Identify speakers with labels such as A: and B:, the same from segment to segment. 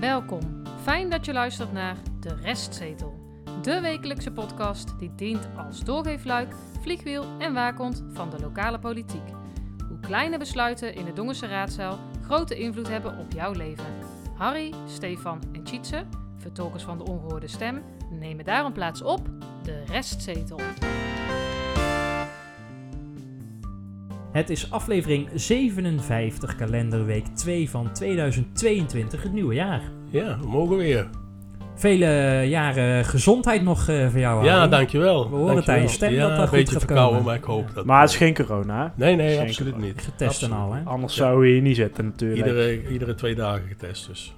A: Welkom. Fijn dat je luistert naar De Restzetel. De wekelijkse podcast die dient als doorgeefluik, vliegwiel en waakhond van de lokale politiek. Hoe kleine besluiten in de Dongense raadzaal grote invloed hebben op jouw leven. Harry, Stefan en Tjitse, vertolkers van de ongehoorde stem, nemen daarom plaats op De Restzetel.
B: Het is aflevering 57, kalenderweek 2 van 2022, het nieuwe jaar.
C: Ja, we mogen weer.
B: Vele eh, jaren gezondheid nog eh, voor jou.
C: ja,
B: Harry.
C: dankjewel.
B: We horen het
C: Dankjewel.
B: aan je stem
C: ja,
B: dat dat
C: een
B: goed
C: beetje
B: gaat
C: verkouden,
B: komen.
C: maar ik hoop dat...
D: Maar het is geen corona. hè?
C: Nee, nee,
D: Geen
C: absoluut
D: corona.
C: niet.
B: Getest en al, hè?
D: Anders
C: Ja.
D: zouden we hier niet zitten natuurlijk.
C: Iedere, iedere twee dagen getest dus.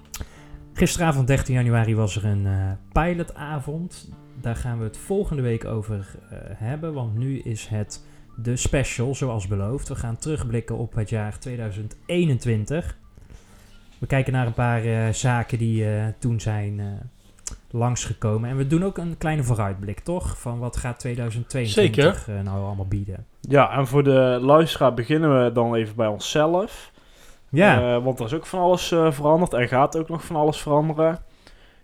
B: Gisteravond 13 januari was er een eh, pilotavond. Daar gaan we het volgende week over eh, hebben, want nu is het de special, zoals beloofd. We gaan terugblikken op het jaar 2021. We kijken naar een paar eh, zaken die eh, toen zijn eh, langsgekomen. En we doen ook een kleine vooruitblik, toch? Van wat gaat 2022 eh, nou allemaal bieden.
D: Ja, en voor de luisteraar beginnen we dan even bij onszelf.
B: Ja,
D: Eh, want er is ook van alles eh, veranderd en gaat ook nog van alles veranderen.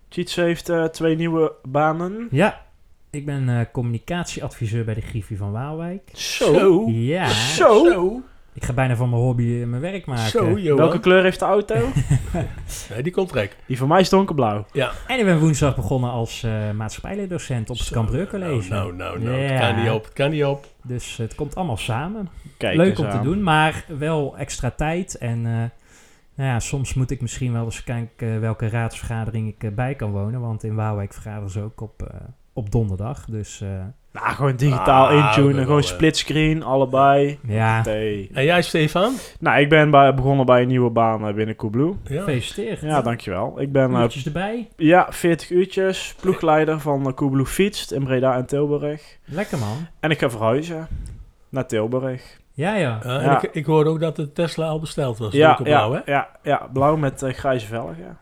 D: Cheats heeft eh, twee nieuwe banen.
B: ja. ik ben eh, communicatieadviseur bij de Griffie van Waalwijk.
D: Zo.
B: Ja,
D: Zo. Ah,
C: Zo,
B: ik ga bijna van mijn hobby eh, mijn werk maken.
C: zo Johan.
D: Welke kleur heeft de auto?
C: Nee, die komt rek.
D: Die van mij is donkerblauw.
B: En ik ben woensdag begonnen als eh maatschappijleerdocent op het
C: Zo,
B: Cambreur College.
C: Nou, nou, nou.
B: Ja.
C: Het kan niet op, het kan niet op.
B: Dus het komt allemaal samen.
D: Kijk
B: Leuk
D: eens
B: om te
D: aan.
B: doen, maar wel extra tijd. En eh, nou ja, soms moet ik misschien wel eens kijken eh, welke raadsvergadering ik eh, bij kan wonen. Want in Waalwijk vergaderen ze ook op, eh, op donderdag. Dus eh,
D: Nou, gewoon digitaal
C: Ah, we
D: intunen.
C: wel,
D: Gewoon
C: eh.
D: splitscreen, allebei.
B: ja,
D: Nee.
C: En jij Stefan?
D: Nou, ik ben bij, begonnen bij een nieuwe baan eh, binnen Coolblue.
C: Ja.
B: gefeliciteerd.
D: Ja, dankjewel. Ik ben eh,
B: Uurtjes erbij.
D: Ja, 40 uurtjes. Ploegleider van Koebloe fietst in Breda en Tilburg.
B: Lekker man.
D: En ik ga verhuizen naar Tilburg.
B: Ja, ja.
C: Ja, en
D: Ja.
C: Ik, ik hoorde ook dat de Tesla al besteld was.
D: ja,
C: Donkerblauw,
D: ja,
C: hè?
D: ja, ja, blauw met eh, grijze velgen. Ja.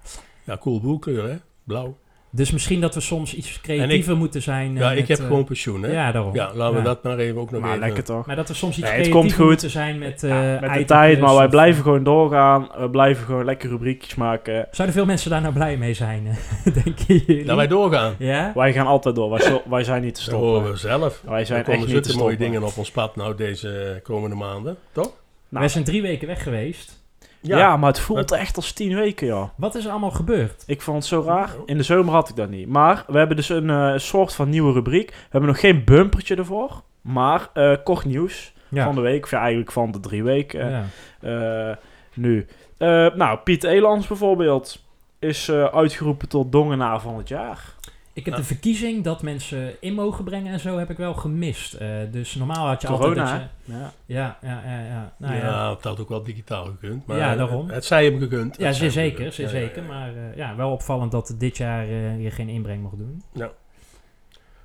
C: Ja, cool boelkleur, hè? Blauw.
B: Dus misschien dat we soms iets creatiever moeten zijn. eh,
C: Ja, ik
B: met,
C: heb
B: eh,
C: gewoon pensioen, hè? Ja,
B: Ja, daarom.
C: laten we
B: Ja.
C: dat maar even ook nog
D: Maar
C: even...
D: lekker toch?
B: Maar dat we soms iets
D: Nee, het
B: creatiever
D: komt goed.
B: moeten zijn met, eh
D: Ja, met de
B: items
D: tijd, maar wij
B: of-
D: blijven gewoon doorgaan. We blijven gewoon lekker rubriekjes maken.
B: Zouden veel mensen daar nou blij mee zijn, denk je?
C: Laten wij doorgaan.
B: Ja?
D: Wij gaan altijd door. Wij, zo- wij zijn niet te
C: Dat horen we
D: stoppen.
C: zelf.
D: Wij
C: Er
D: zijn echt
C: komen
D: niet te
C: zulke mooie
D: stoppen.
C: dingen op ons pad nou deze komende maanden, toch?
D: Nou.
B: We zijn drie weken weg geweest.
D: Ja, maar het voelt echt als tien weken, joh.
B: Wat is er allemaal gebeurd?
D: Ik vond het zo raar. In de zomer had ik dat niet. Maar we hebben dus een eh, soort van nieuwe rubriek. We hebben nog geen bumpertje ervoor. Maar eh, kort nieuws
B: Ja.
D: van de week. Of ja, eigenlijk van de drie weken
B: ja.
D: eh, nu. Eh, nou, Piet Elans bijvoorbeeld is eh, uitgeroepen tot Dongenaar van het jaar.
B: Ik heb de verkiezing dat mensen in mogen brengen en zo heb ik wel gemist. Eh, dus normaal had je altijd...
D: Corona.
B: dat
D: hè?
B: je-
D: Ja.
B: Ja, ja, ja. ja. Nou,
C: ja,
B: ja. ja.
C: het had ook wel digitaal gekund. Maar
B: Ja, daarom.
C: Het zij hem gegund. Het zij
B: zeer
C: hem
B: zeker,
C: gegund.
B: zeer
C: Ja, ja, ja.
B: zeker. Maar eh, ja, wel opvallend dat dit jaar eh, je geen inbreng mocht doen.
C: Ja.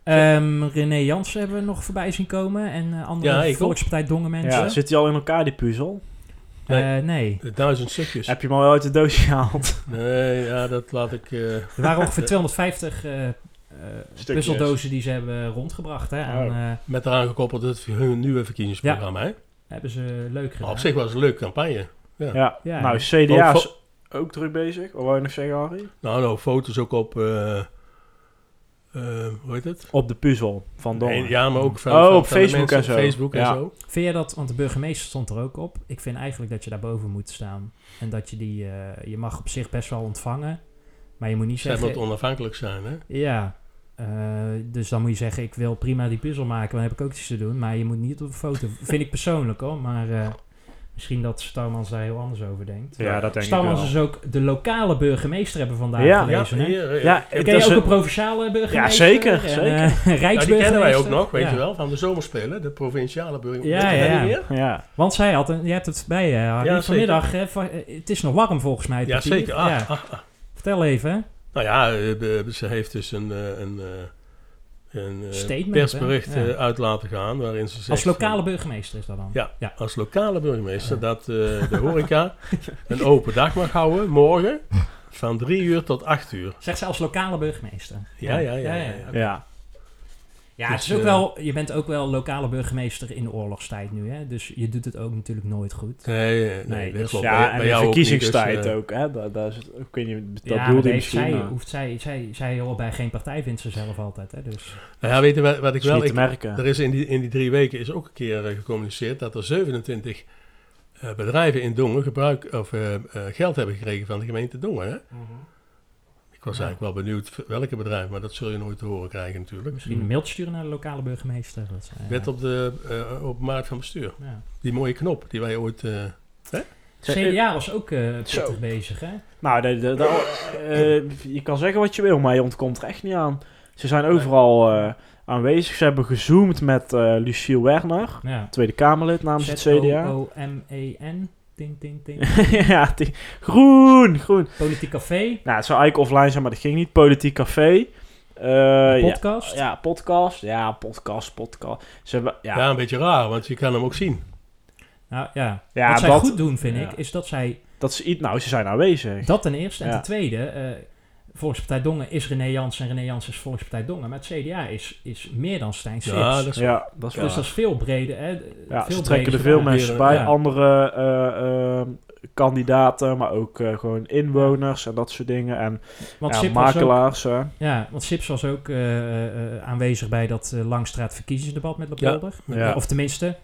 B: Ehm, René Jansen hebben we nog voorbij zien komen. En eh,
C: Ja,
B: andere
C: ik ook.
B: Volkspartij Dongen mensen.
D: Ja, zit hij al in elkaar, die puzzel?
C: Nee.
B: Eh, nee,
C: De duizend stukjes.
D: Heb je hem al wel uit de doos gehaald?
C: Nee, ja, dat laat ik... eh,
B: er waren ongeveer 250 eh, eh,
D: Stukjes.
B: puzzeldozen die ze hebben rondgebracht. Hè, aan,
D: Oh.
B: eh,
C: met eraan gekoppeld het hun nieuwe verkiezingsprogramma. Hè?
B: hebben ze leuk
C: Maar
B: gedaan.
C: op zich was het een leuke campagne.
D: Ja.
C: Ja.
B: Ja.
D: Nou, CDA is ook druk bezig. Wat wou je nog zeggen, Harry?
C: Nou, nou, foto's ook op... eh, eh, hoe heet het?
D: Op de puzzel van Dongen.
C: Nee, ja, maar ook van,
D: Oh,
C: van-
D: op
C: van de
D: Facebook
C: mensen
D: en zo.
C: op Facebook en
D: Ja.
C: zo.
B: Vind jij dat, want de burgemeester stond er ook op. Ik vind eigenlijk dat je daarboven moet staan. En dat je die, eh, je mag op zich best wel ontvangen. Maar je moet niet
C: Zij moet
B: zeggen,
C: onafhankelijk zijn, hè?
B: ja. eh, dus dan moet je zeggen, ik wil prima die puzzel maken. Dan heb ik ook iets te doen. Maar je moet niet op een foto. vind ik persoonlijk hoor. Maar eh, misschien dat Starmans daar heel anders over denkt.
D: Ja, dat denk
B: Starmans
D: ik
B: is
D: wel.
B: ook de lokale burgemeester hebben vandaag
D: Ja.
B: gelezen. hè?
C: hier, eh,
D: Ja,
B: Ken
D: het
B: je
D: is
B: ook
D: een-
B: een provinciale burgemeester?
D: Ja, zeker,
B: en,
D: zeker.
B: eh,
C: ja, die
B: Rijksburgemeester.
C: kennen wij ook nog, weet
B: Ja.
C: je wel, van de zomerspelen. De provinciale burger.
B: Ja,
C: Weet je dat
B: ja,
C: niet
B: ja.
C: meer?
D: Ja.
B: Want zij had, een, je hebt het bij eh, Harry,
C: Ja, zeker.
B: vanmiddag. hè, van- eh, het is nog warm volgens mij. het
C: Ja,
B: papier.
C: zeker. Ah,
B: Ja.
C: ah,
B: Vertel even.
C: Nou ja, eh, eh, ze heeft dus een, eh, een, eh, een eh,
B: Statement,
C: persbericht
B: hè? Ja.
C: eh, uit laten gaan waarin ze zegt...
B: Als lokale burgemeester is dat dan?
C: Ja.
B: ja.
C: als lokale burgemeester dat eh, de horeca een open dag mag houden, morgen, van drie uur tot acht uur.
B: Zegt ze als lokale burgemeester?
C: Ja, ja, ja. ja,
B: ja,
C: ja.
D: Ja.
B: Ja,
C: Dus,
B: het is ook
C: eh,
B: wel, je bent ook wel lokale burgemeester in de oorlogstijd nu, hè? Dus je doet het ook natuurlijk nooit goed.
C: Nee, eh, nee,
B: Nee,
C: dat
B: dus
C: klopt. Bij-
D: ja,
C: bij
D: en de
C: jou ook niet, dus,
D: verkiezingstijd
C: eh,
D: ook. Hè? Daar, daar is het, ik weet niet, dat
B: ja, maar
D: bedoelde je
B: heeft
D: misschien. eh,
B: zij,
D: maar
B: hoeft zij, zij, zij hoort bij geen partij, vindt ze zelf altijd, hè? Dus
C: Nou ja, weet je wat, wat ik
D: is niet
C: wel...
D: te
C: Ik,
D: merken.
C: er is in, die, in die drie weken is ook een keer eh, gecommuniceerd dat er 27 eh, bedrijven in Dongen gebruik, of, eh, eh, geld hebben gekregen van de gemeente Dongen. Hè?
B: Mhm.
C: Ik was
B: Ja.
C: eigenlijk wel benieuwd welke bedrijven, maar dat zul je nooit te horen krijgen natuurlijk.
B: misschien een mailtje sturen naar de lokale burgemeester. Dat, is, eh,
C: Wet op de eh, op maart van bestuur.
B: ja.
C: Die mooie knop die wij ooit... eh,
D: Zij-
B: CDA was ook eh
D: Zo.
B: pittig bezig, hè?
D: Nou, de, de- de- eh, je kan zeggen wat je wil, maar je ontkomt er echt niet aan. Ze zijn overal eh, aanwezig. Ze hebben gezoomd met eh Luciel Werner,
B: Ja.
D: Tweede Kamerlid namens het CDA.
B: oh. Z-O-O-M-E-N. E Ding, ding, ding.
D: ja, die- groen, groen.
B: Politiek Café.
D: Nou, het zou eigenlijk offline zijn, maar dat ging niet. Politiek Café. Eh, ja,
B: podcast.
D: ja, podcast. Ja, podcast, podcast. Ze hebben, ja,
C: ja. een beetje raar, want je kan hem ook zien.
B: Nou, ja.
D: Ja,
B: Wat zij
D: dat-
B: goed doen, vind
D: ja.
B: ik, is dat zij
D: Dat ze, iets- nou, ze zijn aanwezig.
B: dat ten eerste. En
D: Ja.
B: ten tweede, eh Volkspartij Dongen is René Jans en René Jans is Volkspartij Dongen. Maar het CDA is, is meer dan Stijn Sips.
C: Ja, dat is
D: Ja, dat is
B: Dus dat is veel breder. Hè?
D: Ja,
B: veel
D: ze trekken
B: breder
D: er veel
B: gedaan.
D: mensen bij.
B: Ja.
D: Andere eh, eh, kandidaten, maar ook eh, gewoon inwoners en dat soort dingen. En
B: Want
D: ja,
B: Sips was ook-
D: makelaars. hè.
B: Ja, want Sips was ook eh, eh, aanwezig bij dat eh, Langstraat verkiezingsdebat met Lepolder.
D: Ja.
B: Of tenminste,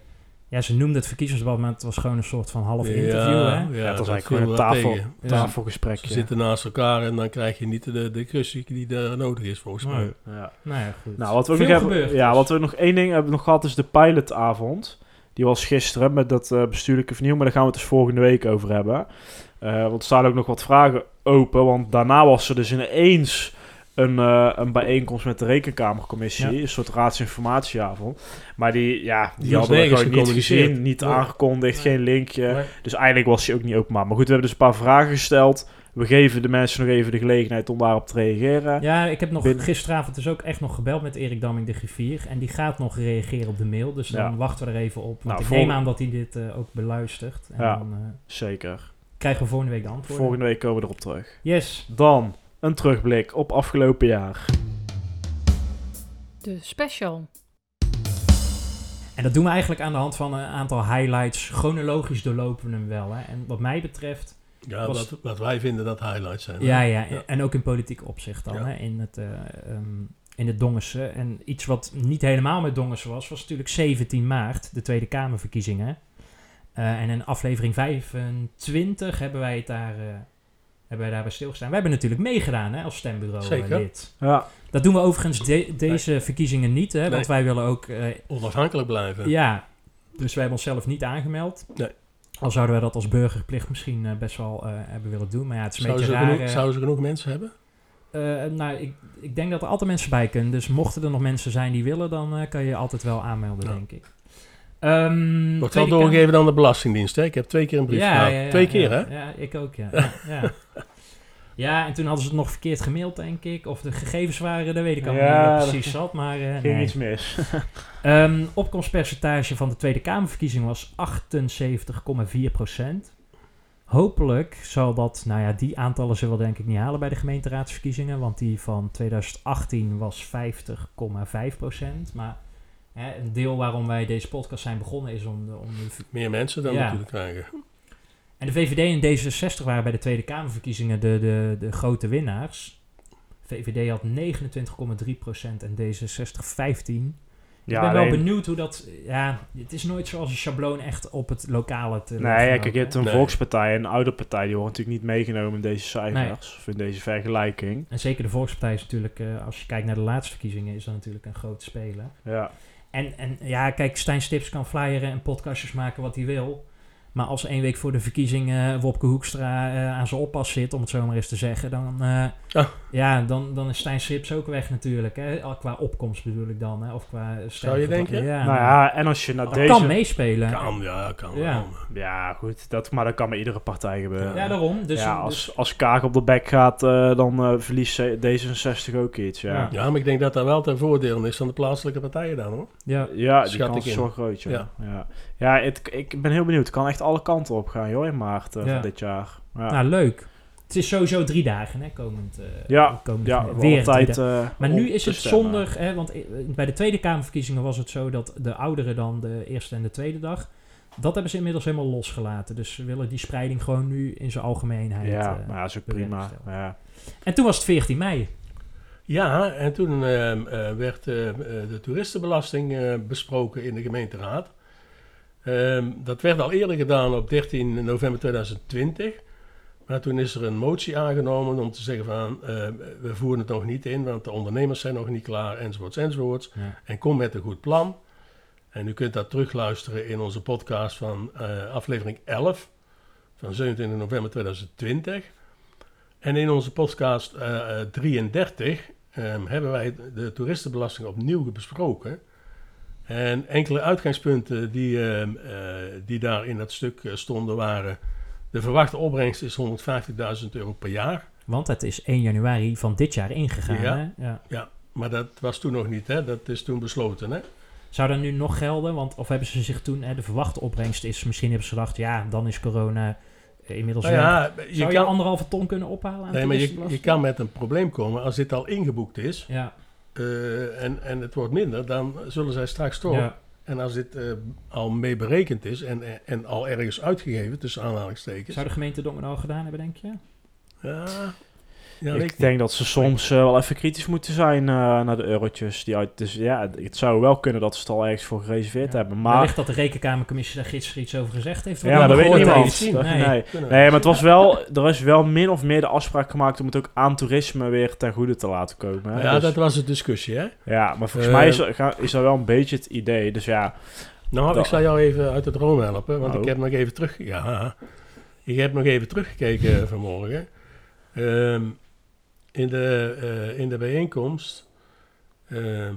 B: ja, ze noemde het verkiezingsdebat, maar het was gewoon een soort van half
C: Ja,
B: interview.
C: ja,
B: Hè?
D: Ja, dat is eigenlijk
C: viel
D: gewoon een
C: wel
D: tafel,
C: tegen.
B: Ja.
D: tafelgesprekje.
C: Ze zitten naast elkaar en dan krijg je niet de discussie die er nodig is, volgens mij.
B: Nee.
D: Ja.
B: Nou ja, goed.
D: Nou, wat we ook
B: Veel
D: nog hebben,
B: gebeurd. dus.
D: ja, wat we nog één ding hebben nog gehad is de pilotavond. Die was gisteren met dat eh, bestuurlijke vernieuw, maar daar gaan we het dus volgende week over hebben. Eh, want er staan ook nog wat vragen open, want daarna was er dus ineens een, eh, een bijeenkomst met de Rekenkamercommissie, een soort raadsinformatieavond. Maar die, ja, die,
C: Die was
D: hadden we
C: nergens
D: gewoon niet
C: gecommuniceerd.
D: gezien, niet
C: Nee.
D: aangekondigd,
A: Nee.
D: geen linkje.
C: Nee.
D: Dus eigenlijk was die ook niet openbaar. Maar goed, we hebben dus een paar vragen gesteld. We geven de mensen nog even de gelegenheid om daarop te reageren.
B: Ja, ik heb nog
D: Binnen-
B: gisteravond dus ook echt nog gebeld met Erik Damming de griffier. En die gaat nog reageren op de mail. Dus dan
D: Ja.
B: wachten we er even op. Want
D: Nou,
B: ik
D: volgende-
B: neem aan dat hij dit eh, ook beluistert. En
D: Ja.
B: dan eh,
D: Zeker.
B: krijgen we volgende week de antwoorden.
D: Volgende week komen we erop terug.
B: Yes.
D: Dan een terugblik op afgelopen jaar.
A: De special.
B: En dat doen we eigenlijk aan de hand van een aantal highlights. Chronologisch doorlopen we hem wel. Hè. En wat mij betreft
C: Ja,
B: Was-
C: wat, wat wij vinden dat highlights zijn. hè?
B: Ja, ja,
C: Ja.
B: en ook in politiek opzicht dan,
C: Ja.
B: hè, in het, eh ehm, in het Dongense. En iets wat niet helemaal met Dongense was, was natuurlijk 17 maart, de Tweede Kamerverkiezingen. Eh, en in aflevering 25 hebben wij het daar, eh, hebben wij daarbij stilgestaan. Wij hebben natuurlijk meegedaan hè, als stembureau eh,
C: Zeker.
B: lid.
D: Ja,
B: Dat doen we overigens de- deze verkiezingen niet, hè, want wij willen ook... eh,
C: Onafhankelijk blijven.
B: ja, dus wij hebben onszelf niet aangemeld.
C: Nee.
B: Al zouden wij dat als burgerplicht misschien eh, best wel eh, hebben willen doen. Maar ja, het is een
C: Zouden ze,
B: beetje raar.
C: genoeg,
B: eh,
C: zouden ze genoeg mensen hebben?
B: eh, nou, ik, ik denk dat er altijd mensen bij kunnen. Dus mochten er nog mensen zijn die willen, dan eh, kan je je altijd wel aanmelden,
C: Ja.
B: denk ik. Ehm
C: Wordt wel
B: Tweede
C: doorgegeven aan de Belastingdienst. Hè? Ik heb twee keer een brief
B: Kamer-
C: gehad. twee keer,
B: ja,
C: hè?
B: Ja, ik ook, ja. ja, ja. Ja, en toen hadden ze het nog verkeerd gemaild, denk ik. Of de gegevens waren, dat weet ik allemaal
D: Ja,
B: niet meer
D: dat
B: precies zat. Maar eh,
D: ging
B: nee.
D: iets mis.
B: Ehm, opkomstpercentage van de Tweede Kamerverkiezing was 78,4%. Hopelijk zal dat, nou ja, die aantallen zullen we denk ik niet halen bij de gemeenteraadsverkiezingen, want die van 2018 was 50,5%. Maar hè, een deel waarom wij deze podcast zijn begonnen is om, de- om de v-
C: Meer mensen dan
B: Ja.
C: natuurlijk krijgen.
B: en de VVD en D66 waren bij de Tweede Kamerverkiezingen de, de, de grote winnaars. VVD had 29,3% en D66 15%.
D: Ja,
B: ik ben wel
D: alleen-
B: benieuwd hoe dat... Ja, het is nooit zoals een schabloon echt op het lokale te eh, leggen
D: Nee, ja,
B: ook,
D: kijk, je hebt
B: hè.
D: een
C: Nee.
D: volkspartij en een ouderpartij. Die horen natuurlijk niet meegenomen in deze cijfers. Of in deze vergelijking.
B: En zeker de Volkspartij is natuurlijk, eh, als je kijkt naar de laatste verkiezingen, is dat natuurlijk een grote speler.
D: Ja,
B: En, en ja, kijk, Stijn Stips kan flyeren en podcastjes maken wat hij wil. Maar als één week voor de verkiezingen Wopke Hoekstra eh, aan zijn oppas zit, om het zo maar eens te zeggen, dan, eh,
C: Ah.
B: ja, dan, dan is Stijn Stips ook weg natuurlijk. Hè? Al Qua opkomst bedoel ik dan. Hè? Of qua stem-
C: Zou je denken?
B: Ja,
D: nou ja, en als je naar
B: dat
D: deze...
B: kan meespelen.
C: Kan, ja, kan.
B: Ja.
C: wel.
D: Ja, goed, dat, maar dat kan bij iedere partij gebeuren.
B: Ja, daarom. Dus,
D: Ja,
B: dus-
D: als, als Kaag op de bek gaat, eh, dan eh, verliest D66 ook iets, ja.
C: Ja, maar ik denk dat dat wel ten voordeel is van de plaatselijke partijen dan, hoor.
B: ja.
D: Ja, die
C: Schat
D: kans
C: ik
D: is
C: in.
D: wel groot, ja. Ja,
C: Ja.
D: ja. het, ik ben heel benieuwd. Het kan echt alle kanten op gaan, joh, in maart eh,
B: Ja.
D: van dit jaar. Ja.
B: Nou, leuk. Het is sowieso drie dagen, hè, komend, eh,
D: Ja,
B: komend
D: ja,
B: weer
D: we
B: drie
D: altijd.
B: dagen.
D: eh,
B: Maar
D: om
B: nu is
D: te
B: het
D: stemmen.
B: zondag, hè, want i- bij de Tweede Kamerverkiezingen was het zo dat de ouderen dan de eerste en de tweede dag, dat hebben ze inmiddels helemaal losgelaten. Dus ze willen die spreiding gewoon nu in zijn algemeenheid.
D: Ja,
B: eh.
D: maar dat is ook
B: wil je
D: prima.
B: herstellen.
D: Ja.
B: En toen was het 14 mei.
C: Ja, en toen ehm, eh, werd ehm, eh, de toeristenbelasting eh, besproken in de gemeenteraad. Ehm, dat werd al eerder gedaan op 13 november 2020. Maar toen is er een motie aangenomen om te zeggen van ehm, we voeren het nog niet in, want de ondernemers zijn nog niet klaar, enzovoorts, enzovoorts.
B: Ja.
C: En kom met een goed plan. En u kunt dat terugluisteren in onze podcast van eh, aflevering 11 van 27 november 2020. En in onze podcast eh, eh, 33 ehm, hebben wij de toeristenbelasting opnieuw besproken. En enkele uitgangspunten die, ehm, eh, die daar in dat stuk eh, stonden waren... de verwachte opbrengst is 150.000 euro per jaar.
B: Want het is 1 januari van dit jaar ingegaan.
C: Ja.
B: Hè? Ja.
C: Maar dat was toen nog niet, hè? dat is toen besloten. Hè?
B: Zou dat nu nog gelden? Want of hebben ze zich toen, hè, de verwachte opbrengst is, misschien hebben ze gedacht, ja, dan is corona eh, inmiddels
C: Nou
B: weg.
C: ja,
B: Zou je,
C: je kan,
B: anderhalve ton kunnen ophalen aan
C: nee, maar je, je
B: toeristenbelasting?
C: kan met een probleem komen als dit al ingeboekt is...
B: Ja,
C: eh, en, en het wordt minder, dan zullen zij straks toch...
B: ja.
C: En als dit eh, al mee berekend is en, en al ergens uitgegeven, tussen aanhalingstekens.
B: Zou de gemeente Dongen al gedaan hebben, denk je?
C: Ja, ja, weet
D: Ik denk dat ze soms eh, wel even kritisch moeten zijn eh, naar de eurotjes. Die uit, dus ja, het zou wel kunnen dat ze het al ergens voor gereserveerd
B: Ja.
D: hebben. Maar
B: Wellicht dat de Rekenkamercommissie daar gisteren iets over gezegd heeft.
D: ja, maar dat weet
C: gehoord
D: niemand.
C: heeft.
D: Dat-
B: Nee.
D: nee.
C: ik niet.
D: Nee, maar het was wel, er is wel min of meer de afspraak gemaakt om het ook aan toerisme weer ten goede te laten komen. hè.
C: Ja,
D: Dus-
C: dat was de discussie, hè?
D: ja maar volgens
C: Eh,
D: mij is, er- ga- is dat wel een beetje het idee. Dus ja,
C: Nou,
D: Dat-
C: ik zal jou even uit de droom helpen, want
D: Oh.
C: ik heb nog even terug... Ja, ik heb nog even teruggekeken vanmorgen. Ehm, in, de, eh, in de bijeenkomst ehm,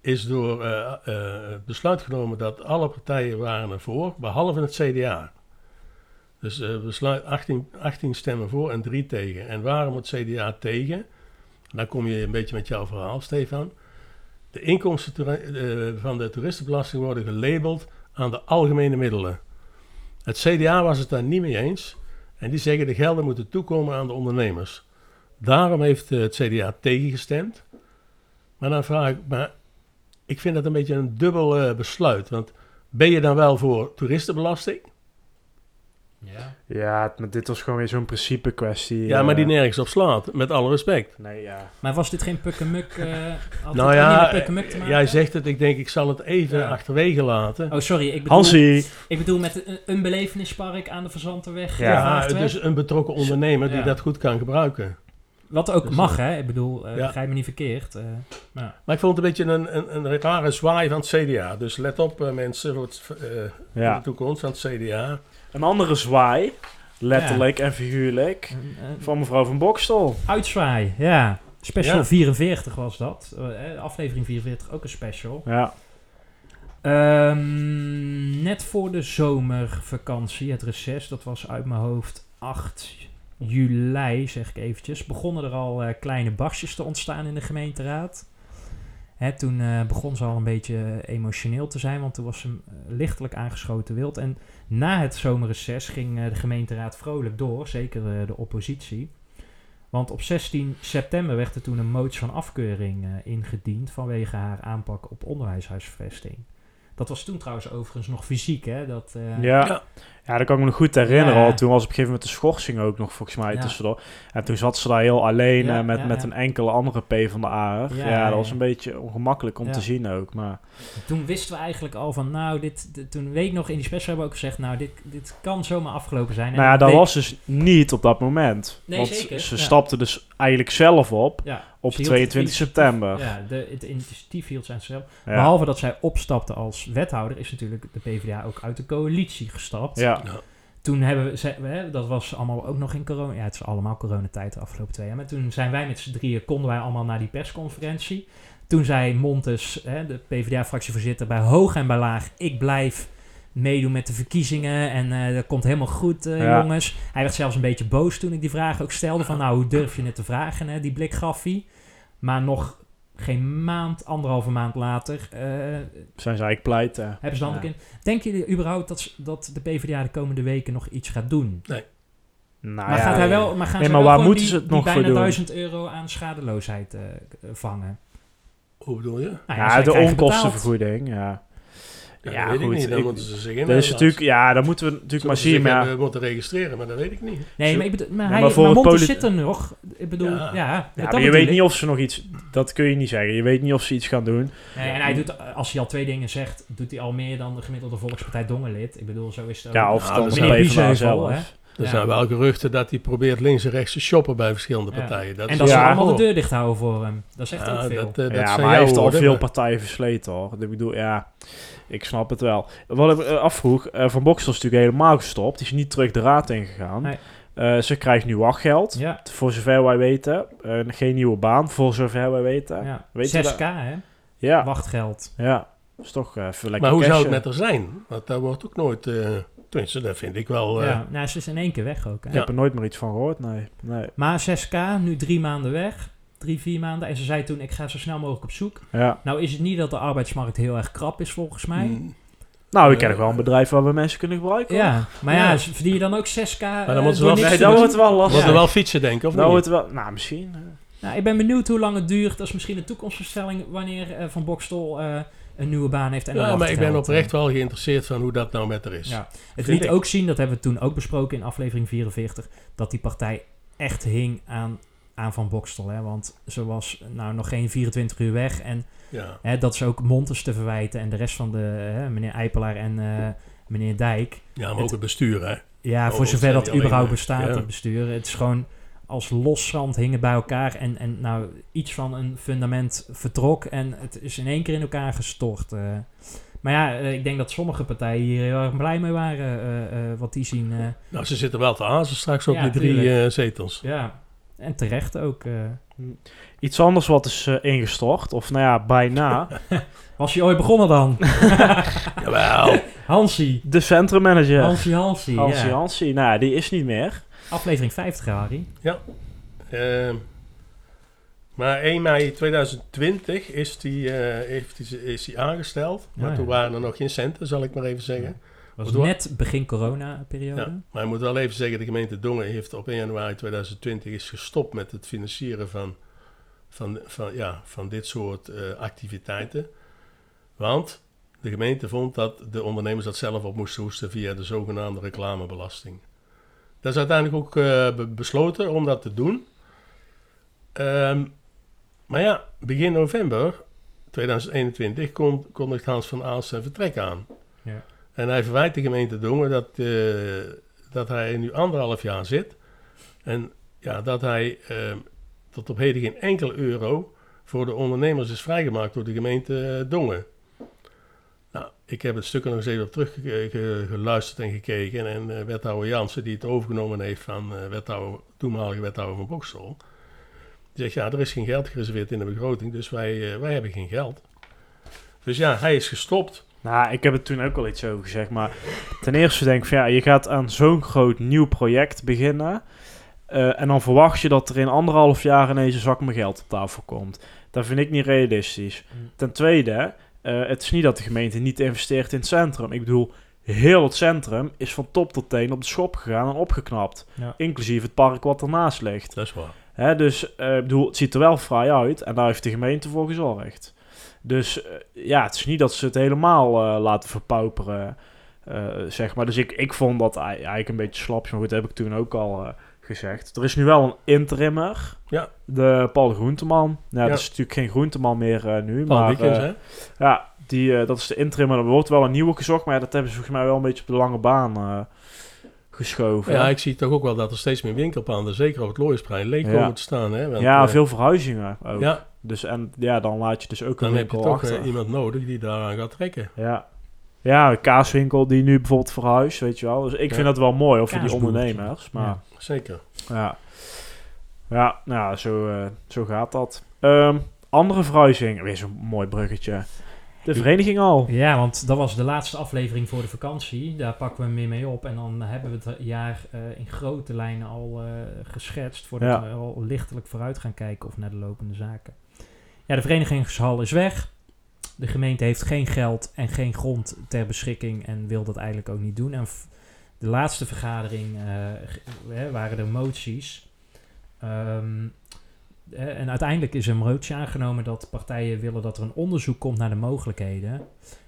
C: is door eh, eh, het besluit genomen dat alle partijen waren ervoor, behalve het CDA. Dus eh, besluit 18, 18 stemmen voor en 3 tegen. En waarom het CDA tegen? Dan kom je een beetje met jouw verhaal, Stefan. De inkomsten toera- eh, van de toeristenbelasting worden gelabeld aan de algemene middelen. Het CDA was het daar niet mee eens en die zeggen de gelden moeten toekomen aan de ondernemers. Daarom heeft eh, het CDA tegengestemd. Maar dan vraag ik, maar ik vind dat een beetje een dubbel eh, besluit. Want ben je dan wel voor toeristenbelasting?
B: Ja.
D: ja het- maar dit was gewoon weer zo'n principe kwestie. eh.
C: Ja, maar die
D: nee.
C: nergens op slaat, met alle respect.
D: Nee, ja.
B: Maar was dit geen pukkemuk? eh had
C: nou
B: dit ook niet
C: ja,
B: met pukkemuk
D: eh,
B: te maken?
C: jij zegt het, ik denk ik zal het even
B: Ja.
C: achterwege laten.
B: Oh, sorry. Ik bedoel,
D: Hansie,
B: ik bedoel met een, een belevenispark aan de Verzantenweg.
D: Ja.
B: de
C: Ja,
B: Vaartweg.
C: dus een betrokken ondernemer die
B: Ja.
C: dat goed kan gebruiken.
B: Wat ook
C: Dus,
B: mag, hè? Ik bedoel, eh
C: ja.
B: begrijp me niet verkeerd. eh, maar
C: Maar ik vond het een beetje een, een, een rare zwaai van het CDA. Dus let op eh, mensen voor, het, eh, voor de
D: ja.
C: toekomst van het CDA.
D: een andere zwaai, letterlijk en figuurlijk,
B: een, een
D: van mevrouw van Bokstel.
B: uitzwaai, ja. Special
C: Ja.
B: 44 was dat. Eh, eh, aflevering 44, ook een special.
D: Ja,
B: Ehm, net voor de zomervakantie, het reces, dat was uit mijn hoofd 8 juli, zeg ik eventjes, begonnen er al eh, kleine barstjes te ontstaan in de gemeenteraad. Hè, toen eh, begon ze al een beetje emotioneel te zijn, want toen was ze eh, lichtelijk aangeschoten wild. En na het zomerreces ging eh, de gemeenteraad vrolijk door, zeker eh, de oppositie. Want op 16 september werd er toen een motie van afkeuring eh, ingediend vanwege haar aanpak op onderwijshuisvesting. Dat was toen trouwens overigens nog fysiek, hè? Dat, eh,
D: ja.
C: ja.
D: ja. dat kan ik me nog goed herinneren
B: Ja.
D: al. Toen was op een gegeven moment de schorsing ook nog volgens mij
B: Ja.
D: tussendoor. En toen zat ze daar heel alleen
B: Ja,
D: eh, met,
B: ja,
D: met
B: ja.
D: een enkele andere P van de A. Ja,
B: Ja,
D: ja,
B: ja.
D: dat was een beetje ongemakkelijk om
B: Ja.
D: te zien ook. Maar
B: Toen wisten we eigenlijk al van, nou, dit, dit- toen weet ik nog in die special hebben we ook gezegd, nou, dit, dit kan zomaar afgelopen zijn. En
D: nou ja, dat
B: weet-
D: was dus niet op dat moment.
B: Nee,
D: want
B: zeker,
D: ze
B: ja.
D: stapte dus eigenlijk zelf op
B: ja,
D: op
B: Ze hield
D: 22
B: het
D: september. Ja.
B: ja, de, het initiatief hield zijn zelf. Behalve dat zij opstapte als wethouder, is natuurlijk de PvdA ook uit de coalitie gestapt.
D: ja.
B: Toen hebben we, ze- we- hè, dat was allemaal ook nog in corona. Ja, het is allemaal coronatijd de afgelopen twee jaar. Maar toen zijn wij met z'n drieën, konden wij allemaal naar die persconferentie. Toen zei Montes, hè, de PvdA-fractievoorzitter, bij hoog en bij laag... ik blijf meedoen met de verkiezingen en eh, dat komt helemaal goed, eh,
D: Ja.
B: jongens. Hij werd zelfs een beetje boos toen ik die vraag ook stelde... van nou, hoe durf je het te vragen, hè, die blik gaf hij. Maar nog geen maand, anderhalve maand later... eh,
D: zijn ze eigenlijk pleiten.
B: hebben ze dan
D: Ja.
B: ook in. Denken jullie überhaupt dat, ze- dat de PvdA de komende weken nog iets gaat doen?
C: Nee.
D: Nou
B: maar
D: ja,
B: gaat hij
D: ja.
B: wel, maar gaan
D: Nee,
B: ze
D: maar
B: wel
D: waar
B: gewoon
D: moeten
B: die,
D: ze het
B: die
D: nog voor
B: bijna
D: doen?
B: 1000 euro aan schadeloosheid eh, k- eh, vangen?
C: Hoe bedoel je?
B: Nou
D: Ja,
B: zij
D: de
B: krijgen
D: onkostenvergoeding, ja.
C: Ja,
D: Ja,
C: dat weet
D: goed,
C: ik niet. Dan
D: ik-
C: moeten ze zich
D: Dat is
C: inmelden.
D: natuurlijk, ja, dat moeten we
C: Zullen
D: natuurlijk maar
C: ze
D: zien.
C: zich,
D: Maar
C: eh,
D: ja,
C: moeten registreren, maar dat weet ik niet.
B: Nee, maar, ik bedoel, maar,
D: Ja,
B: hij,
D: maar
B: maar,
D: voor het
B: Montes
D: poli-
B: zit er nog. Ik bedoel, ja.
C: Ja.
B: ja, dat
D: maar je
B: bedoel
D: weet
B: ik.
D: niet of ze nog iets... Dat kun je niet zeggen. Je weet niet of ze iets gaan doen.
B: Nee, en hij doet, eh, als hij al twee dingen zegt, doet hij al meer dan de gemiddelde Volkspartij Dongerlid. Ik bedoel, zo is het ook.
D: Ja, of
C: nou,
D: dan
C: dat
D: de
C: zou-
D: PvdA
B: Biezen heeft wel,
D: zelf.
C: Er
B: Ja.
C: zijn wel geruchten dat hij probeert links en rechts te shoppen bij verschillende
B: Ja.
C: partijen. Dat
B: en
C: is
B: dat ze
D: Ja.
B: allemaal de deur dicht houden voor hem. Dat zegt
C: Ja,
B: ook veel.
C: dat, eh, dat zijn
D: ja, maar hij
C: jouw
D: heeft al
C: woorden,
D: veel
C: maar-
D: partijen versleten, hoor. Ik bedoel, ja, ik snap het wel. Wat ik me, eh, afvroeg, eh, Van Boksel is natuurlijk helemaal gestopt. Die is niet terug de raad ingegaan.
B: Nee.
D: Eh, ze krijgt nu wachtgeld,
B: ja,
D: voor zover wij weten. Eh, geen nieuwe baan, voor zover wij weten. Ja,
B: ja.
D: Weet je
B: 6k, hè?
D: ja.
B: Wachtgeld.
D: Dat is toch eh, even lekker
C: Maar hoe zou het
D: cashen.
C: met haar zijn? Want daar wordt ook nooit... eh tenminste, dat vind ik wel... eh,
B: Ja, nou, ze is in één keer weg ook. Hè?
D: Ik heb er nooit meer iets van gehoord, nee. nee.
B: Maar 6k, nu drie maanden weg. Drie, vier maanden. En ze zei toen, ik ga zo snel mogelijk op zoek.
D: Ja.
B: Nou is het niet dat de arbeidsmarkt heel erg krap is, volgens mij.
C: mm,
D: Nou, ik
C: Eh,
D: ken nog wel een bedrijf waar we mensen kunnen gebruiken. hoor.
B: Ja, maar ja,
C: Ja.
B: ze- verdien je dan ook eh, 6k? Maar
C: dan moeten ze wel
D: Nee,
C: niks
D: dat
C: doen.
D: wordt wel
C: Wordt
D: lastig.
C: er wel fietsen, denk ik, of
D: dat
C: niet?
D: wordt wel... Nou, misschien. eh.
B: Nou, ik ben benieuwd hoe lang het duurt. Dat is misschien een toekomstverstelling wanneer eh, Van Bokstel eh, een nieuwe baan heeft. En
C: ja,
B: een
C: maar ik ben
B: wachtgeld.
C: oprecht wel geïnteresseerd van hoe dat nou met haar is.
B: Ja. Het
C: Vind
B: liet
C: ik.
B: ook zien, dat hebben we toen ook besproken in aflevering 44, dat die partij echt hing aan, aan Van Bokstel. Hè? Want ze was nou nog geen 24 uur weg. En
C: Ja.
B: hè, dat is ook Montes te verwijten en de rest van de hè, meneer Eipelaar en eh, meneer Dijk.
C: Ja, maar
B: Het-
C: ook het bestuur, hè.
B: Ja,
C: Oh,
B: voor
C: dat
B: zover
C: zijn
B: dat
C: die alleen
B: überhaupt
C: maar.
B: bestaat,
C: Ja.
B: dat bestuur. Het is gewoon als los zand hingen bij elkaar en, en nou iets van een fundament vertrok en het is in één keer in elkaar gestort. eh. Maar ja, eh, ik denk dat sommige partijen hier heel erg blij mee waren, eh, eh, wat die zien. eh.
C: Nou, ze zitten wel te hazen straks op
B: Ja,
C: die drie
B: tuurlijk.
C: eh, zetels.
B: ja, en terecht ook. eh.
D: Iets anders wat is eh, ingestort, of nou ja, bijna.
B: Was je ooit begonnen dan?
C: Jawel.
B: Hansie.
D: De centrummanager. Hansi
B: Hansie, Hansie.
D: Hansi.
B: ja.
D: Nou, ja, die is niet meer.
B: Aflevering 50, Harry.
C: Ehm, maar 1 mei 2020 is die, eh, heeft die, is die aangesteld.
B: Ja,
C: maar
B: ja.
C: toen waren er nog geen centen, zal ik maar even zeggen.
B: Was
C: Wat doen we?
B: net begin corona-periode.
C: Ja. Maar ik moet wel even zeggen, de gemeente Dongen heeft op 1 januari 2020 is gestopt met het financieren van, van, van, ja, van dit soort eh, activiteiten. Want de gemeente vond dat de ondernemers dat zelf op moesten hoesten via de zogenaamde reclamebelasting. Dat is uiteindelijk ook eh, be- besloten om dat te doen. Ehm, maar ja, begin november 2021 kon, kondigt Hans van Aals zijn vertrek aan.
B: Ja.
C: En hij verwijt de gemeente Dongen dat, eh, dat hij nu anderhalf jaar zit. En ja, dat hij ehm, tot op heden geen enkele euro voor de ondernemers is vrijgemaakt door de gemeente eh, Dongen. Nou, ik heb het stuk er nog eens even op teruggeluisterd en gekeken. En eh wethouder Jansen, die het overgenomen heeft van eh, wethouder, toenmalige wethouder van Boksel... Die zegt, ja, er is geen geld gereserveerd in de begroting, dus wij, eh, wij hebben geen geld. Dus ja, hij is gestopt.
D: Nou, ik heb het toen ook al iets over gezegd. Maar ten eerste denk ik van ja, je gaat aan zo'n groot nieuw project beginnen. eh, en dan verwacht je dat er in anderhalf jaar ineens een zak met geld op tafel komt. Dat vind ik niet realistisch.
B: Mm.
D: Ten tweede, eh, het is niet dat de gemeente niet investeert in het centrum. Ik bedoel, heel het centrum is van top tot teen op de schop gegaan en opgeknapt.
B: Ja.
D: Inclusief het park wat ernaast ligt.
C: Dat is waar.
D: Hè, dus eh, ik bedoel, het ziet er wel fraai uit en daar heeft de gemeente voor gezorgd. Dus eh, ja, het is niet dat ze het helemaal eh, laten verpauperen, eh, zeg maar. Dus ik, ik vond dat ei- eigenlijk een beetje slapjes, maar goed, dat heb ik toen ook al eh, gezegd. Er is nu wel een interimmer,
C: Ja.
D: de Paul Groenteman. Ja,
C: Ja.
D: dat is natuurlijk geen Groenteman meer eh, nu,
C: Paul
D: maar
C: Wiekens,
D: eh,
C: hè?
D: ja, die, eh, dat is de interimmer. Er wordt wel een nieuwe gezocht, maar ja, dat hebben ze volgens mij wel een beetje op de lange baan eh, geschoven.
C: Ja, ik zie toch ook wel dat er steeds meer winkelpanden, zeker op het Looisplein, leeg
D: Ja.
C: komen te staan. Hè? Want,
D: Ja,
C: eh,
D: veel verhuizingen ook.
C: ja,
D: Dus en ja, dan laat je dus ook
C: dan
D: een
C: heb je
D: winkel
C: toch eh,
D: achter.
C: iemand nodig die daaraan gaat trekken.
D: ja. ja, een kaaswinkel die nu bijvoorbeeld verhuist, weet je wel. Dus ik
C: Ja.
D: vind dat wel mooi, of voor die
B: Kaasboer.
D: ondernemers. Maar
B: Ja.
D: ja,
C: Zeker.
D: ja. nou, zo, eh, zo gaat dat. Ehm, andere verhuizing, weer zo'n mooi bruggetje. De vereniging al.
B: Ja, want dat was de laatste aflevering voor de vakantie. Daar pakken we hem weer mee op. En dan hebben we het jaar eh, in grote lijnen al eh, geschetst. Voordat
D: Ja.
B: we al lichtelijk vooruit gaan kijken of naar de lopende zaken. Ja, de verenigingshal is weg. De gemeente heeft geen geld en geen grond ter beschikking. En wil dat eigenlijk ook niet doen. En v- de laatste vergadering eh, g- hè, waren er moties. Ehm, eh, en uiteindelijk is een motie aangenomen dat partijen willen dat er een onderzoek komt naar de mogelijkheden.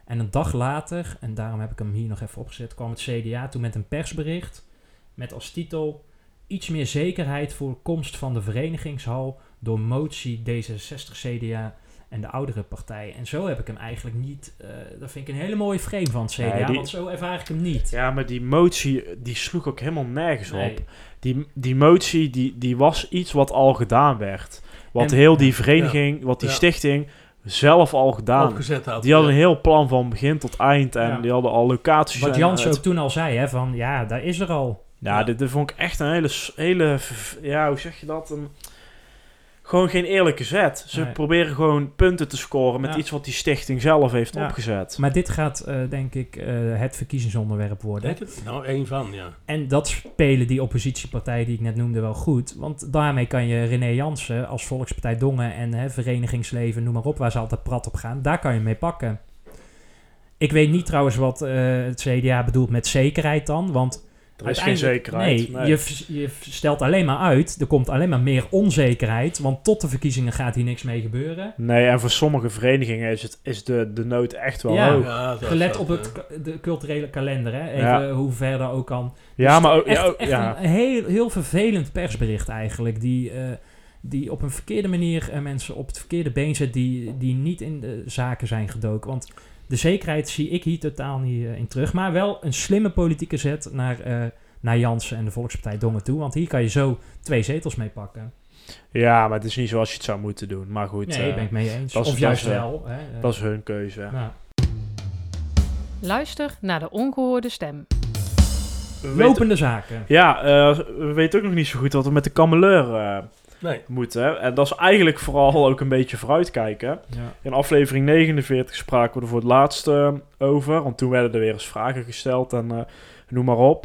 B: En een dag later, en daarom heb ik hem hier nog even opgezet, kwam het CDA toen met een persbericht met als titel Iets meer zekerheid voor komst van de verenigingshal door motie D66 CDA en de oudere partij. En zo heb ik hem eigenlijk niet, eh dat vind ik een hele mooie frame van het CDA,
D: Nee, die-
B: want zo ervaar ik hem niet.
D: Ja, maar die motie, die sloeg ook helemaal nergens
B: Nee.
D: op. Die, die motie, die, die was iets wat al gedaan werd. Wat
B: En-
D: heel die vereniging, wat die
C: ja.
D: stichting zelf al gedaan.
C: Opgezet had.
D: Die hadden een heel plan van begin tot eind en
B: Ja.
D: die hadden al locaties.
B: Wat
D: en
B: Jans
D: het-
B: ook toen al zei, hè, van ja, daar is er al.
D: Ja,
C: Ja.
D: eh, Nou, Dit, dit vond ik echt een hele, s- hele, v- ja, hoe zeg je dat? Een, gewoon geen eerlijke zet. Ze
B: Nee.
D: proberen gewoon punten te scoren met
B: Ja.
D: iets wat die stichting zelf heeft
B: Ja.
D: opgezet.
B: Maar dit gaat, eh, denk ik, eh, het verkiezingsonderwerp worden.
C: Denk het? Nou, één van, ja.
B: En dat spelen die oppositiepartijen die ik net noemde wel goed. Want daarmee kan je René Jansen als Volkspartij Dongen en hè, verenigingsleven, noem maar op, waar ze altijd prat op gaan, daar kan je mee pakken. Ik weet niet trouwens wat eh, het CDA bedoelt met zekerheid dan, want...
D: Er is geen
B: uiteindelijk-
D: zekerheid.
B: Nee, Je, v- je v- stelt alleen maar uit, er komt alleen maar meer onzekerheid, want tot de verkiezingen gaat hier niks mee gebeuren.
D: Nee, en voor sommige verenigingen is, het, is de, de nood echt wel
B: Ja. Dus
D: hoog.
C: ja dat
B: Gelet
C: zat,
B: op
C: eh.
B: het, k- de culturele kalender, hè? Even
D: Ja.
B: hoe ver dat ook kan.
D: Ja,
B: Dus
D: maar ook,
B: echt,
D: ja, ook-
B: echt
D: ja.
B: een heel, heel vervelend persbericht eigenlijk. Die, eh, die op een verkeerde manier eh, mensen op het verkeerde been zet die, die niet in de zaken zijn gedoken. Want de zekerheid zie ik hier totaal niet eh, in terug. Maar wel een slimme politieke zet naar, eh, naar Jansen en de Volkspartij Dongen toe. Want hier kan je zo twee zetels mee pakken.
D: ja, maar het is niet zoals je het zou moeten doen. Maar goed,
B: nee,
D: eh,
B: ben ik mee eens.
D: dat is-
B: Of juist
D: dat is, eh,
B: wel. Hè? eh,
D: dat is hun keuze.
B: ja.
A: Luister naar de ongehoorde stem.
D: We weten,
B: Lopende zaken.
D: ja, eh, we weten ook nog niet zo goed wat we met de kameleur eh,
C: Nee,
D: moeten. En dat is eigenlijk vooral ook een beetje vooruitkijken.
B: Ja.
D: In aflevering 49 spraken we er voor het laatst eh, over. Want toen werden er weer eens vragen gesteld en eh, noem maar op.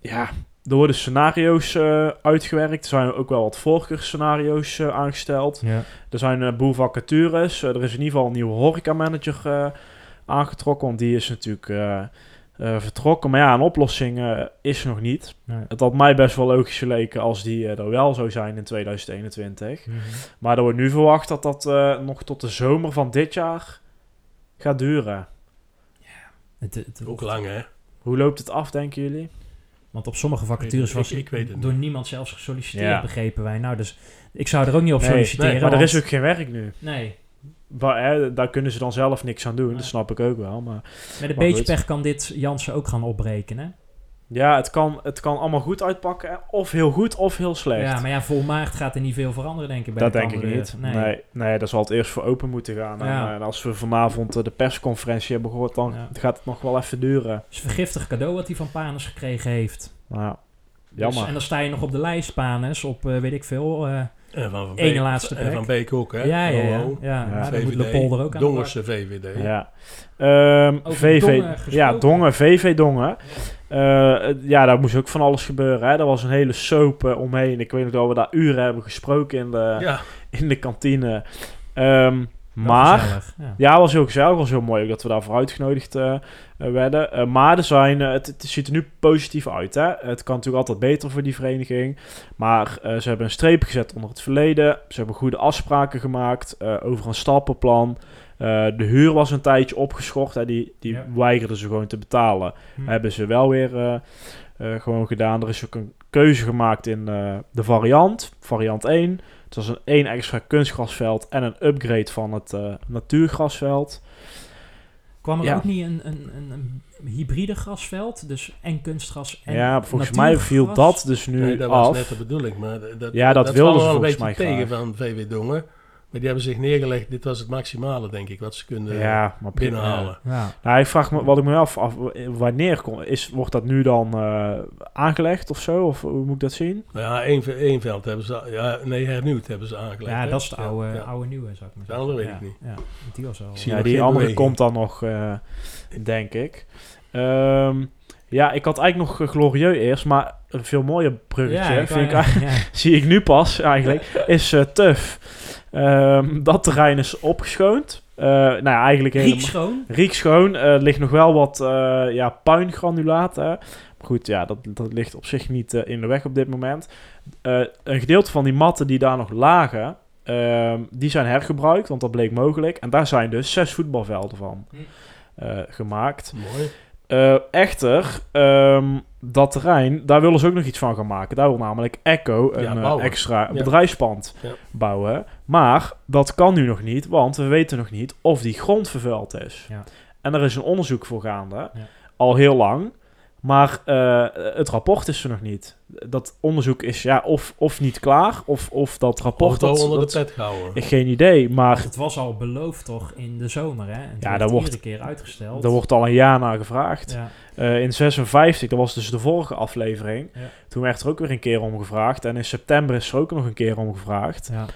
D: Ja, er worden scenario's eh, uitgewerkt. Er zijn ook wel wat voorkeursscenario's eh, aangesteld.
B: Ja.
D: Er zijn een boel vacatures. Eh, er is in ieder geval een nieuwe horecamanager manager aangetrokken. Want die is natuurlijk eh, eh, vertrokken. Maar ja, een oplossing eh, is er nog niet.
B: Nee.
D: Het had mij best wel logisch geleken als die eh, er wel zou zijn in 2021.
B: Mhm.
D: Maar er wordt nu verwacht dat dat eh, nog tot de zomer van dit jaar gaat duren.
B: Het, het,
C: ook lang, hè.
D: Hoe loopt het af, denken jullie?
B: Want op sommige vacatures
C: Ik-
B: was
C: ik- ik weet het
B: door niemand zelfs gesolliciteerd,
D: Ja.
B: begrepen wij. Nou, dus ik zou er ook niet op
D: Nee,
B: solliciteren.
D: maar er
B: want-
D: is ook geen werk nu.
B: Nee,
D: Wa- hè, daar kunnen ze dan zelf niks aan doen.
B: Nee.
D: Dat snap ik ook wel. Maar
B: met een
D: Maar
B: beetje
D: goed.
B: pech kan dit Jansen ook gaan opbreken, hè?
D: ja, het kan, het kan allemaal goed uitpakken. hè. Of heel goed, of heel slecht.
B: Ja, maar ja, voor maart gaat er niet veel veranderen, denk ik. Bij
D: dat
B: de
D: denk ik
B: Kamerleden.
D: niet. Nee. Nee, daar zal het eerst voor open moeten gaan. En,
B: Ja.
D: eh, En als we vanavond eh, de persconferentie hebben gehoord, dan
B: Ja.
D: gaat het nog wel even duren.
B: Het is een vergiftig cadeau wat hij van Panes gekregen heeft.
D: Nou, ja.
B: Dus- en
D: jammer.
B: dan sta je nog op de lijst, Panes, op eh, weet ik veel. eh,
C: En van, van
B: Ene
C: Beek,
B: laatste
C: en
B: plek.
C: van Beek ook, hè.
B: ja, ja, ja. ja,
C: Hallo.
B: maar dan
C: VVD,
B: moet Le Polder ook aan de
C: Dongerse VVD.
D: ja. Ehm,
B: Over
D: VV,
B: Dongen gesproken.
D: ja, Dongen, VV Dongen. Eh, het- ja, daar moest ook van alles gebeuren. Hè. Er was een hele soap eh, omheen. Ik weet nog dat we daar uren hebben gesproken in de,
C: Ja,
D: in de kantine. Ehm,
B: bak.
D: maar...
B: Wel gezellig, Ja.
D: Ja, was heel gezellig. was heel mooi ook dat we daarvoor uitgenodigd eh, eh, werden. Eh, maar er zijn, eh, het, het ziet er nu positief uit. Hè? Het kan natuurlijk altijd beter voor die vereniging. Maar eh, ze hebben een streep gezet onder het verleden. Ze hebben goede afspraken gemaakt eh, over een stappenplan. Eh, de huur was een tijdje opgeschort. Hè? Die, die
B: Ja.
D: weigerden ze gewoon te betalen.
B: Hm.
D: Hebben ze wel weer eh, eh, gewoon gedaan. Er is ook een keuze gemaakt in eh, de variant. Variant 1. Het was een één extra kunstgrasveld en een upgrade van het eh, natuurgrasveld.
B: Kwam er
D: Ja.
B: ook niet een, een, een, een hybride grasveld? Dus en kunstgras en
D: ja, volgens mij viel
B: natuurgras?
D: dat dus nu
C: nee, dat was
D: af.
C: net de bedoeling. Maar dat, dat,
D: Ja, dat
C: dat
D: wilden
C: kwam
D: ze
C: wel
D: volgens
C: een beetje
D: mij
C: tegen van VW Dongen. Maar die hebben zich neergelegd. Dit was het maximale, denk ik, wat ze konden
D: ja, maar prima.
C: binnenhalen.
B: Ja.
D: Nou, ik vraag me wat ik me af, af wanneer kon, is, wordt dat nu dan eh, aangelegd of zo? Of hoe moet ik dat zien?
C: Nou Ja, één, ve- één veld hebben ze... Ja, nee, hernieuwd hebben ze aangelegd.
B: Ja,
C: hè?
B: dat is de oude,
C: Ja, ja.
B: oude nieuwe, zou ik maar
C: De
B: zeggen.
C: andere weet
B: ja,
C: ik niet.
B: Ja, want die was al...
C: Ik zie-
D: Ja,
C: nog
D: die
C: geen
D: andere
C: beweging.
D: komt dan nog, eh, denk ik. Ehm, ja, ik had eigenlijk nog eh, Glorieux eerst, maar een veel mooier bruggetje
B: ja, ik
D: vind ik
B: wou- ja.
D: zie ik nu pas eigenlijk, is eh TUF. Ehm, dat terrein is opgeschoond. Eh, Eh, nou ja, eigenlijk
B: Riek
D: helemaal...
B: schoon.
D: Riek schoon. Eh, er ligt nog wel wat eh ja, puingranulaat. Hè. Maar goed, ja, dat, dat ligt op zich niet eh, in de weg op dit moment. Eh, een gedeelte van die matten die daar nog lagen, ehm, die zijn hergebruikt, want dat bleek mogelijk. En daar zijn dus zes voetbalvelden van
B: Hm.
D: eh, gemaakt.
C: Mooi.
D: Eh, echter, ehm, dat terrein, daar willen ze ook nog iets van gaan maken. Daar wil namelijk Echo een
C: Ja,
D: eh,
C: bouwen.
D: extra
C: Ja.
D: bedrijfspand
C: Ja.
D: bouwen. Maar dat kan nu nog niet, want we weten nog niet of die grond vervuild is.
B: Ja.
D: En er is een onderzoek voor gaande,
B: Ja.
D: al heel lang. Maar eh, het rapport is er nog niet. Dat onderzoek is ja, of, of niet klaar, of, of dat rapport...
C: Porto
D: dat-
C: onder
D: dat-
C: de pet gehouden.
D: ik- Geen idee, maar
B: Het was al beloofd toch in de zomer, hè? En
D: Ja,
B: ja,
D: daar
B: dat wordt
D: wordt-
B: iedere keer uitgesteld.
D: daar wordt al een jaar naar gevraagd.
B: ja.
D: Eh, in 56, dat was dus de vorige aflevering.
B: Ja.
D: Toen werd er ook weer een keer om gevraagd. En in september is er ook nog een keer om gevraagd.
B: Ja.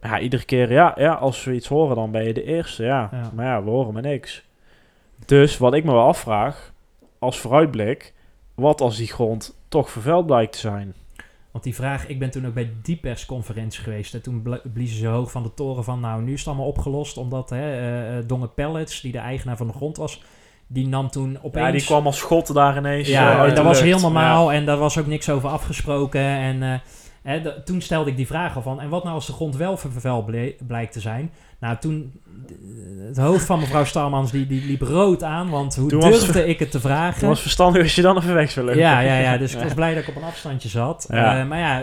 D: Maar ja, iedere keer, ja, ja, als we iets horen, dan ben je de eerste. Ja.
B: Ja.
D: Maar ja, we horen maar niks. Dus wat ik me wel afvraag, als vooruitblik, wat als die grond toch vervuild blijkt te zijn?
B: Want die vraag, ik ben toen ook bij die persconferentie geweest. En toen bla- bliezen ze hoog van de toren van, nou, nu is het allemaal opgelost. Omdat hè, eh, eh, Donge Pellets, die de eigenaar van de grond was, die nam toen opeens...
D: Ja, die kwam als schot daar ineens.
B: Ja,
D: eh,
B: en
D: uit de
B: dat was
D: lucht.
B: heel
D: Ja.
B: normaal en daar was ook niks over afgesproken. En eh, hè, da- toen stelde ik die vraag al van, en wat nou als de grond wel ver- vervuild ble- blijkt te zijn? Nou, toen, d- het hoofd van mevrouw Starmans, die, die liep rood aan, want hoe
D: Toen was-
B: durfde ik het te
D: Het
B: vragen?
D: was verstandig als je dan even weg zou lopen.
B: Ja, ja, ja, dus ik
D: Ja.
B: was blij dat ik op een afstandje zat.
D: Ja.
B: Eh, maar ja,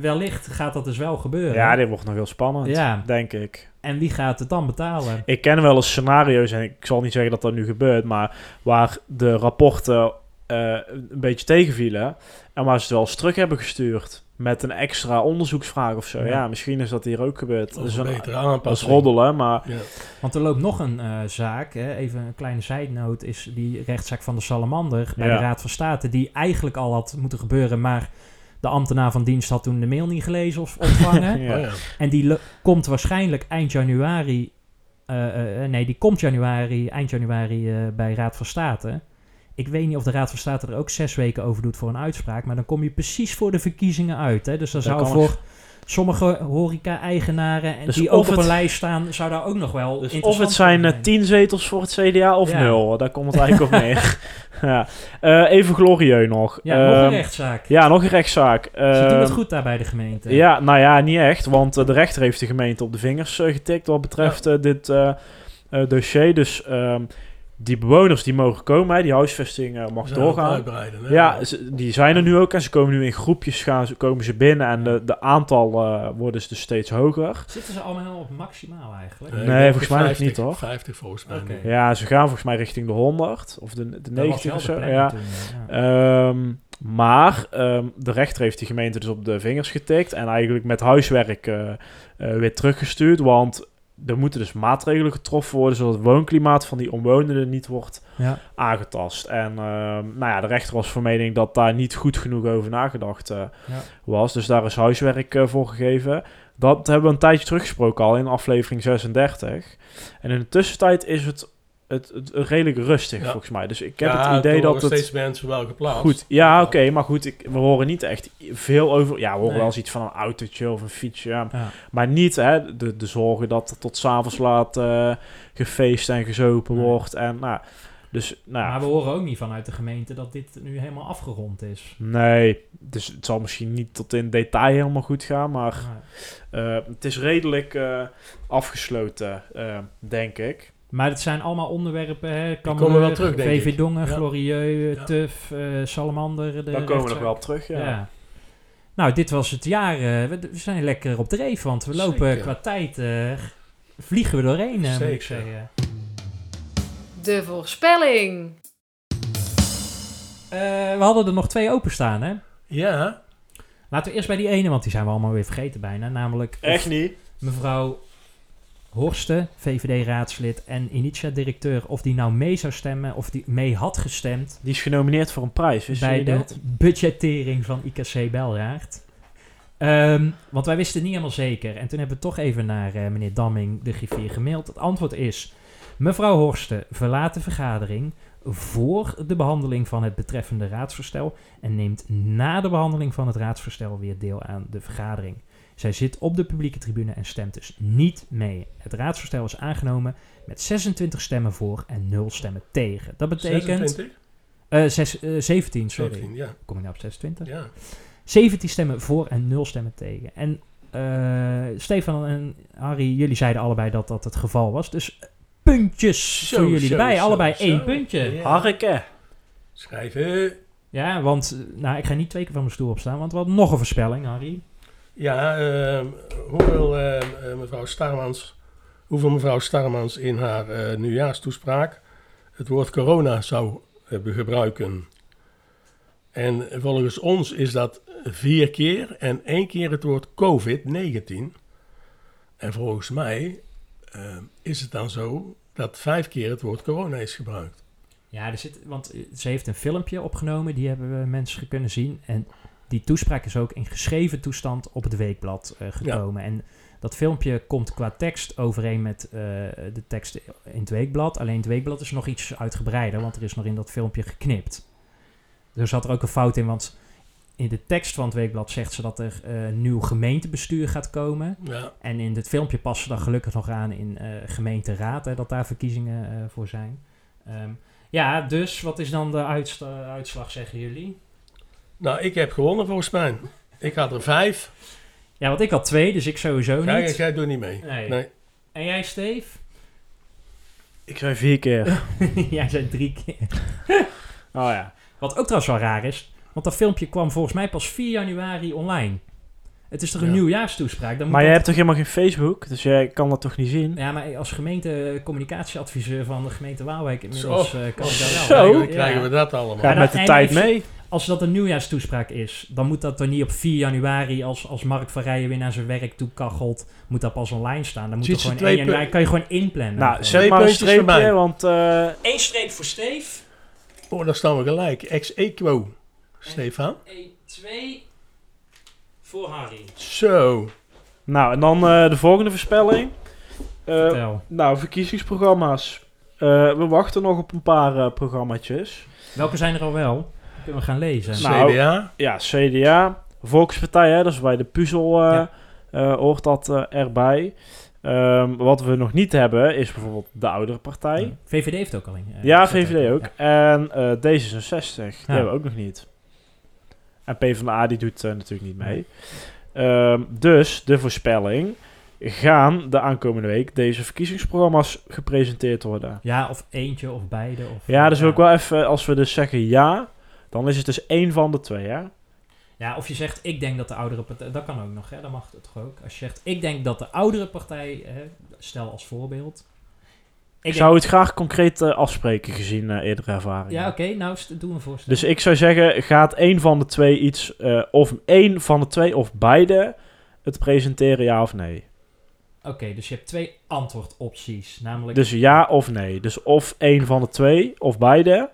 B: wellicht gaat dat dus wel gebeuren.
D: Ja, dit wordt nog heel spannend,
B: Ja.
D: denk ik.
B: En wie gaat het dan betalen?
D: Ik ken wel eens scenario's, en ik zal niet zeggen dat dat nu gebeurt, maar waar de rapporten eh, een beetje tegenvielen en waar ze het wel eens terug hebben gestuurd met een extra onderzoeksvraag of zo.
B: Ja.
D: Ja, misschien is dat hier ook gebeurd. Dat
C: Of
D: is
C: een
D: een,
C: betere
D: dat is
C: aanpassing.
D: roddelen, maar
C: Ja.
B: Want er loopt nog een eh, zaak, hè, even een kleine zijnoot, is die rechtszaak van de Salamander bij
D: Ja.
B: de Raad van State, die eigenlijk al had moeten gebeuren, maar de ambtenaar van dienst had toen de mail niet gelezen of ontvangen.
D: ja.
C: Oh ja.
B: En die lo- komt waarschijnlijk eind januari, eh, eh, nee, die komt januari, eind januari eh, bij Raad van State. Ik weet niet of de Raad van State er ook zes weken over doet voor een uitspraak, maar dan kom je precies voor de verkiezingen uit. Hè. Dus daar
D: Dat
B: zou
D: kan
B: voor sommige horeca-eigenaren en
D: Dus
B: die
D: of
B: ook op
D: het-
B: een lijst staan, zou daar ook nog wel
D: Dus of
B: interessant
D: het zijn
B: voor
D: eh, tien zetels voor het CDA of
B: Ja.
D: nul, daar komt het eigenlijk op neer. Ja. Eh, even glorieus nog.
B: Ja, nog een
D: Ehm,
B: rechtszaak.
D: Ja, nog een rechtszaak.
B: Ze doen het
D: Ehm,
B: goed daar bij de gemeente.
D: Ja, nou ja, niet echt. Want eh, de rechter heeft de gemeente op de vingers eh, getikt wat betreft eh, dit eh, eh, dossier. Dus ehm, die bewoners die mogen komen, hè, die huisvesting eh, mag
C: Ze zouden het
D: doorgaan.
C: uitbreiden, hè?
D: Ja, ze- die zijn er nu ook en ze komen nu in groepjes gaan, ze- komen ze binnen en de, de aantal eh, worden ze dus steeds hoger.
B: Zitten ze allemaal helemaal op maximaal eigenlijk?
C: Eh, ik
D: nee,
C: denk
D: volgens mij nog
C: 50,
D: niet, hoor.
C: 50 volgens mij.
B: Oké.
C: nu.
D: Ja, ze gaan volgens mij richting de 100 of de, de
B: Dat was
D: 90
B: wel
D: of
B: de
D: zo.
B: planning
D: Ja.
B: toen, ja.
D: Ehm, maar ehm, de rechter heeft die gemeente dus op de vingers getikt en eigenlijk met huiswerk eh, eh, weer teruggestuurd. Want er moeten dus maatregelen getroffen worden zodat het woonklimaat van die omwonenden niet wordt
B: Ja.
D: aangetast. En ehm, nou ja, de rechter was van mening dat daar niet goed genoeg over nagedacht eh,
B: Ja.
D: was. Dus daar is huiswerk eh, voor gegeven. Dat hebben we een tijdje teruggesproken al in aflevering 36. En in de tussentijd is het, het, het redelijk rustig
C: Ja.
D: volgens mij. Dus ik heb
C: Ja,
D: het idee
C: er
D: dat
C: worden
D: het...
C: steeds mensen wel geplaatst.
D: Goed, ja, oké, maar goed, ik, we horen niet echt veel over. Ja, we horen
B: Nee.
D: wel eens iets van een autootje of een fietsje. ja.
B: Ja.
D: Maar niet hè, de, de zorgen dat er tot s'avonds laat eh, gefeest en gezopen
B: Nee.
D: wordt. En, nou, dus, nou,
B: Maar we horen ook niet vanuit de gemeente dat dit nu helemaal afgerond is.
D: nee. Dus het zal misschien niet tot in detail helemaal goed gaan, maar eh, het is redelijk eh, afgesloten, eh, denk ik.
B: Maar het zijn allemaal onderwerpen, hè? Kan
C: komen wel terug, denk
B: VV
C: ik.
B: Dongen,
C: Ja.
B: Glorieux,
C: Ja.
B: Tuf, eh, Salamander. De
D: Daar komen we nog
B: rechtszaak.
D: wel op terug, ja.
B: Ja. Nou, dit was het jaar. eh, we, we zijn lekker op dreef, want we lopen
C: Zeker.
B: qua tijd. eh, vliegen we doorheen, eh, moet ik
C: Zeker.
B: zeggen.
A: De voorspelling.
B: Eh, we hadden er nog twee openstaan, hè?
C: Ja,
B: Laten we eerst bij die ene, want die zijn we allemaal weer vergeten bijna. Namelijk of
D: Echt niet?
B: mevrouw Horsten, VVD-raadslid en Initia-directeur, of die nou mee zou stemmen of die mee had gestemd
D: Die is genomineerd voor een prijs, wist
B: bij
D: je
B: de
D: dat?
B: budgettering van IKC Belraard. Ehm, want wij wisten het niet helemaal zeker. En toen hebben we toch even naar eh, meneer Damming, de griffier, gemaild. Het antwoord is... Mevrouw Horsten verlaat de vergadering voor de behandeling van het betreffende raadsvoorstel... en neemt na de behandeling van het raadsvoorstel weer deel aan de vergadering. Zij zit op de publieke tribune en stemt dus niet mee. Het raadsvoorstel is aangenomen met 26 stemmen voor en 0 stemmen tegen. Dat betekent...
C: 26?
B: eh zes, eh, 17, sorry.
C: 17, ja.
B: Kom ik nou op 26?
C: ja.
B: 17 stemmen voor en 0 stemmen tegen. En eh, Stefan en Harry, jullie zeiden allebei dat dat het geval was. Dus puntjes
C: Zo,
B: voor jullie
C: zo,
B: erbij.
C: zo,
B: allebei
C: zo.
B: één puntje.
C: Ja.
D: Harke.
C: Schrijven.
B: Ja, want eh, nou, ik ga niet twee keer van mijn stoel opstaan, want we hadden nog een voorspelling, Harry.
C: Ja, ehm, hoeveel ehm, eh, mevrouw Starmans, hoeveel mevrouw Starmans in haar eh, nieuwjaarstoespraak het woord corona zou eh, be- gebruiken. En volgens ons is dat vier keer en één keer het woord COVID-19. En volgens mij ehm, is het dan zo dat vijf keer het woord corona is gebruikt.
B: Ja, er zit, want eh, ze heeft een filmpje opgenomen, die hebben we mensen kunnen zien. En die toespraak is ook in geschreven toestand op het weekblad eh, gekomen. En dat filmpje komt qua tekst overeen met eh, de tekst in het weekblad. Alleen het weekblad is nog iets uitgebreider, want er is nog in dat filmpje geknipt. Er zat er ook een fout in, want in de tekst van het weekblad zegt ze dat er eh, nieuw gemeentebestuur gaat komen.
C: Ja,
B: En in dit filmpje passen ze dan gelukkig nog aan in eh, gemeenteraad, hè, dat daar verkiezingen eh, voor zijn. Ehm, ja, dus wat is dan de uitst- eh, uitslag, zeggen jullie?
C: nou ik heb gewonnen volgens mij. Ik had er vijf.
B: Ja, want ik had twee, dus ik sowieso niet.
C: Jij, jij doet niet mee.
B: Nee.
C: Nee.
B: En jij, Steve?
D: Ik zei vier keer.
B: jij zei drie keer.
D: Oh ja.
B: Wat ook trouwens wel raar is, want dat filmpje kwam volgens mij pas 4 januari online. Het is toch een
C: Ja.
B: nieuwjaarstoespraak? Dan moet
D: Maar jij
B: dat-
D: hebt toch helemaal geen Facebook? Dus jij kan dat toch niet zien?
B: Ja, maar als gemeente communicatieadviseur van de gemeente Waalwijk inmiddels eh, kan ik daar
D: Zo.
B: wel.
C: Krijgen we- krijgen we
B: Ja.
C: dat allemaal.
D: Ga
B: Ja,
D: met de
B: dat-
D: tijd
B: en ik-
D: mee?
B: Als dat een nieuwjaarstoespraak is, dan moet dat toch niet op 4 januari, als, als Mark van Rijen weer naar zijn werk toe kachelt, moet dat pas online staan. Dan moet
C: Ziet
B: dat
C: ze
B: gewoon
C: twee
B: 1 januari, kan je gewoon inplannen.
D: Nou,
B: Gewoon.
D: zet
C: Twee
D: maar een
C: puntjes
D: streepje,
C: erbij.
D: want... eh,
B: Eén streep voor Steve.
C: Oh, daar staan we gelijk. Ex equo, Stefan.
B: 1, 2 voor Harry.
C: Zo.
D: nou, en dan eh, de volgende voorspelling. Eh,
B: Vertel.
D: nou, verkiezingsprogramma's. Eh, we wachten nog op een paar eh programmaatjes.
B: Welke zijn er al wel? Kunnen we gaan lezen.
D: Nou.
C: CDA.
D: Ja, CDA, Volkspartij, hè, dat is bij de puzzel eh,
B: Ja.
D: eh, hoort dat eh, erbij. Ehm, wat we nog niet hebben, is bijvoorbeeld de oudere partij.
B: Ja, VVD heeft ook al een. eh,
D: Nou, Ja,
B: zet
D: VVD ook.
B: Ja.
D: En eh, D66, die hebben we ook nog niet. En PvdA die doet eh, natuurlijk niet mee. Ehm, dus de voorspelling. Gaan de aankomende week deze verkiezingsprogramma's gepresenteerd worden?
B: Ja, of eentje of beide. Of,
D: Ja, dus ook wel even, als we dus zeggen ja, dan is het dus één van de twee, hè?
B: Ja, of je zegt, ik denk dat de oudere partij... Dat kan ook nog, hè? Dat mag het toch ook? Als je zegt, ik denk dat de oudere partij... Hè, stel als voorbeeld...
D: Ik
B: denk-
D: zou het graag concreet eh, afspreken gezien eh eerdere ervaringen.
B: Ja, oké. nou, st- doe een voorstel.
D: Dus ik zou zeggen, gaat één van de twee iets, eh, of één van de twee of beide het presenteren, ja of nee?
B: Oké, dus je hebt twee antwoordopties. Namelijk...
D: Dus ja of nee. Dus of één van de twee, of beide.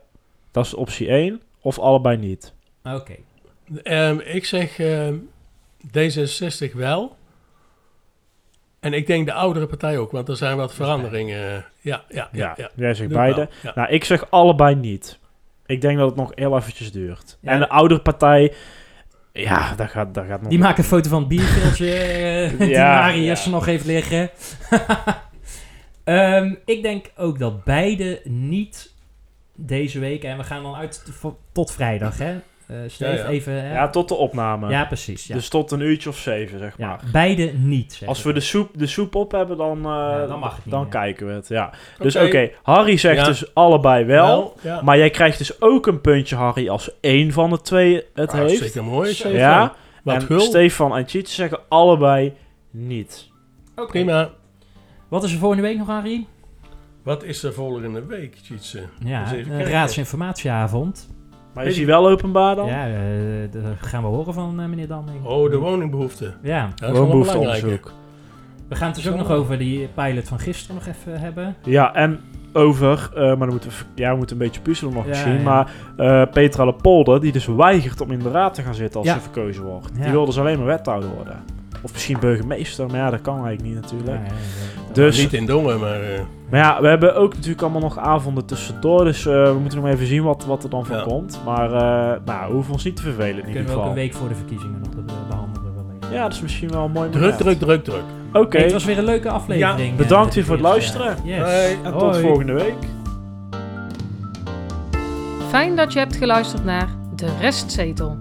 D: Dat is optie 1. Of allebei niet.
B: Oké.
C: Ehm, ik zeg ehm, D66 wel. En ik denk de oudere partij ook, want er zijn wat veranderingen. Ja, ja, ja. ja.
D: Jij zegt
C: Doe
D: beide.
C: wel, ja.
D: Nou, ik zeg allebei niet. Ik denk dat het nog heel eventjes duurt.
B: Ja.
D: En de oudere partij... Ja, daar gaat, daar gaat nog...
B: Die maken een foto van het bierveeltje eh, die
D: Ja,
B: Marius
D: ja.
B: nog heeft liggen. Ehm, ik denk ook dat beide niet deze week... En we gaan dan uit t- vo- tot vrijdag, hè? Eh Steve,
C: Ja, ja.
B: even... Hè?
D: Ja, tot de opname.
B: Ja, precies. Ja.
D: Dus tot een uurtje of zeven, zeg
B: Ja,
D: maar.
B: beide niet. zeg
D: Als
B: ik
D: we
B: dan.
D: de soep, de soep op hebben, dan, eh,
B: Ja, dan mag het niet
D: dan
B: meer.
D: kijken we het. Ja. Dus oké,
C: Oké,
D: Harry zegt
C: Ja.
D: dus allebei wel.
C: ja.
D: Maar jij krijgt dus ook een puntje, Harry, als één van de twee het heeft.
C: Ah, Hartstikke mooi. Stefan.
D: Ja,
C: Wat
D: en
C: gul.
D: Stefan en Cheat zeggen allebei niet.
B: Oké.
C: Prima.
B: Wat is er volgende week nog, Harry?
C: Wat is er volgende week, Tjitse? Eens
B: Ja,
C: even
B: een
C: kijken.
B: raadsinformatieavond.
D: Maar is hij wel openbaar dan?
B: Ja, eh, daar gaan we horen van eh, meneer Damming.
C: Oh, de
D: Hm.
C: woningbehoefte.
B: Ja,
C: Dat is wel belangrijk.
D: behoefteonderzoek.
B: we gaan het dus ook nog over die pilot van gisteren nog even hebben.
D: Ja, en over, eh, maar dan moeten we, ja, we moeten een beetje puzzelen nog
B: Ja, ja.
D: zien. Maar eh, Petra Lepolder, die dus weigert om in de raad te gaan zitten als
B: Ja.
D: ze verkozen wordt.
B: Ja.
D: Die wil dus alleen maar wethouder worden. Of misschien burgemeester, maar ja, dat kan eigenlijk niet natuurlijk.
B: Nou Ja, ja, ja.
D: Dus-
C: Nou, Niet in Dongen, maar eh,
D: Maar ja, we hebben ook natuurlijk allemaal nog avonden tussendoor. Dus eh, we moeten nog even zien wat, wat er dan van
C: Ja.
D: komt. Maar eh nou, we hoeven ons niet te vervelen in ieder
B: kunnen we
D: geval.
B: ook een week voor de verkiezingen nog be- behandelen. wellicht.
D: Ja, dat is misschien wel een mooi
C: Druk,
D: moment.
C: druk, druk, druk.
D: Oké,
B: Hey, het was weer een leuke aflevering.
C: Ja,
B: eh,
D: bedankt
B: dit
D: weer voor het
B: is, eh,
D: luisteren.
B: yes.
C: Hey,
D: en tot
B: Hoi.
D: volgende week.
A: Fijn dat je hebt geluisterd naar De Restzetel.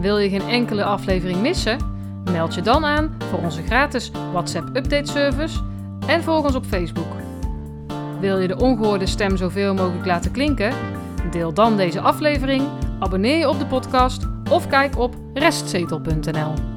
A: Wil je geen enkele aflevering missen? Meld je dan aan voor onze gratis WhatsApp Update Service en volg ons op Facebook. Wil je de ongehoorde stem zoveel mogelijk laten klinken? Deel dan deze aflevering, abonneer je op de podcast of kijk op restzetel.nl.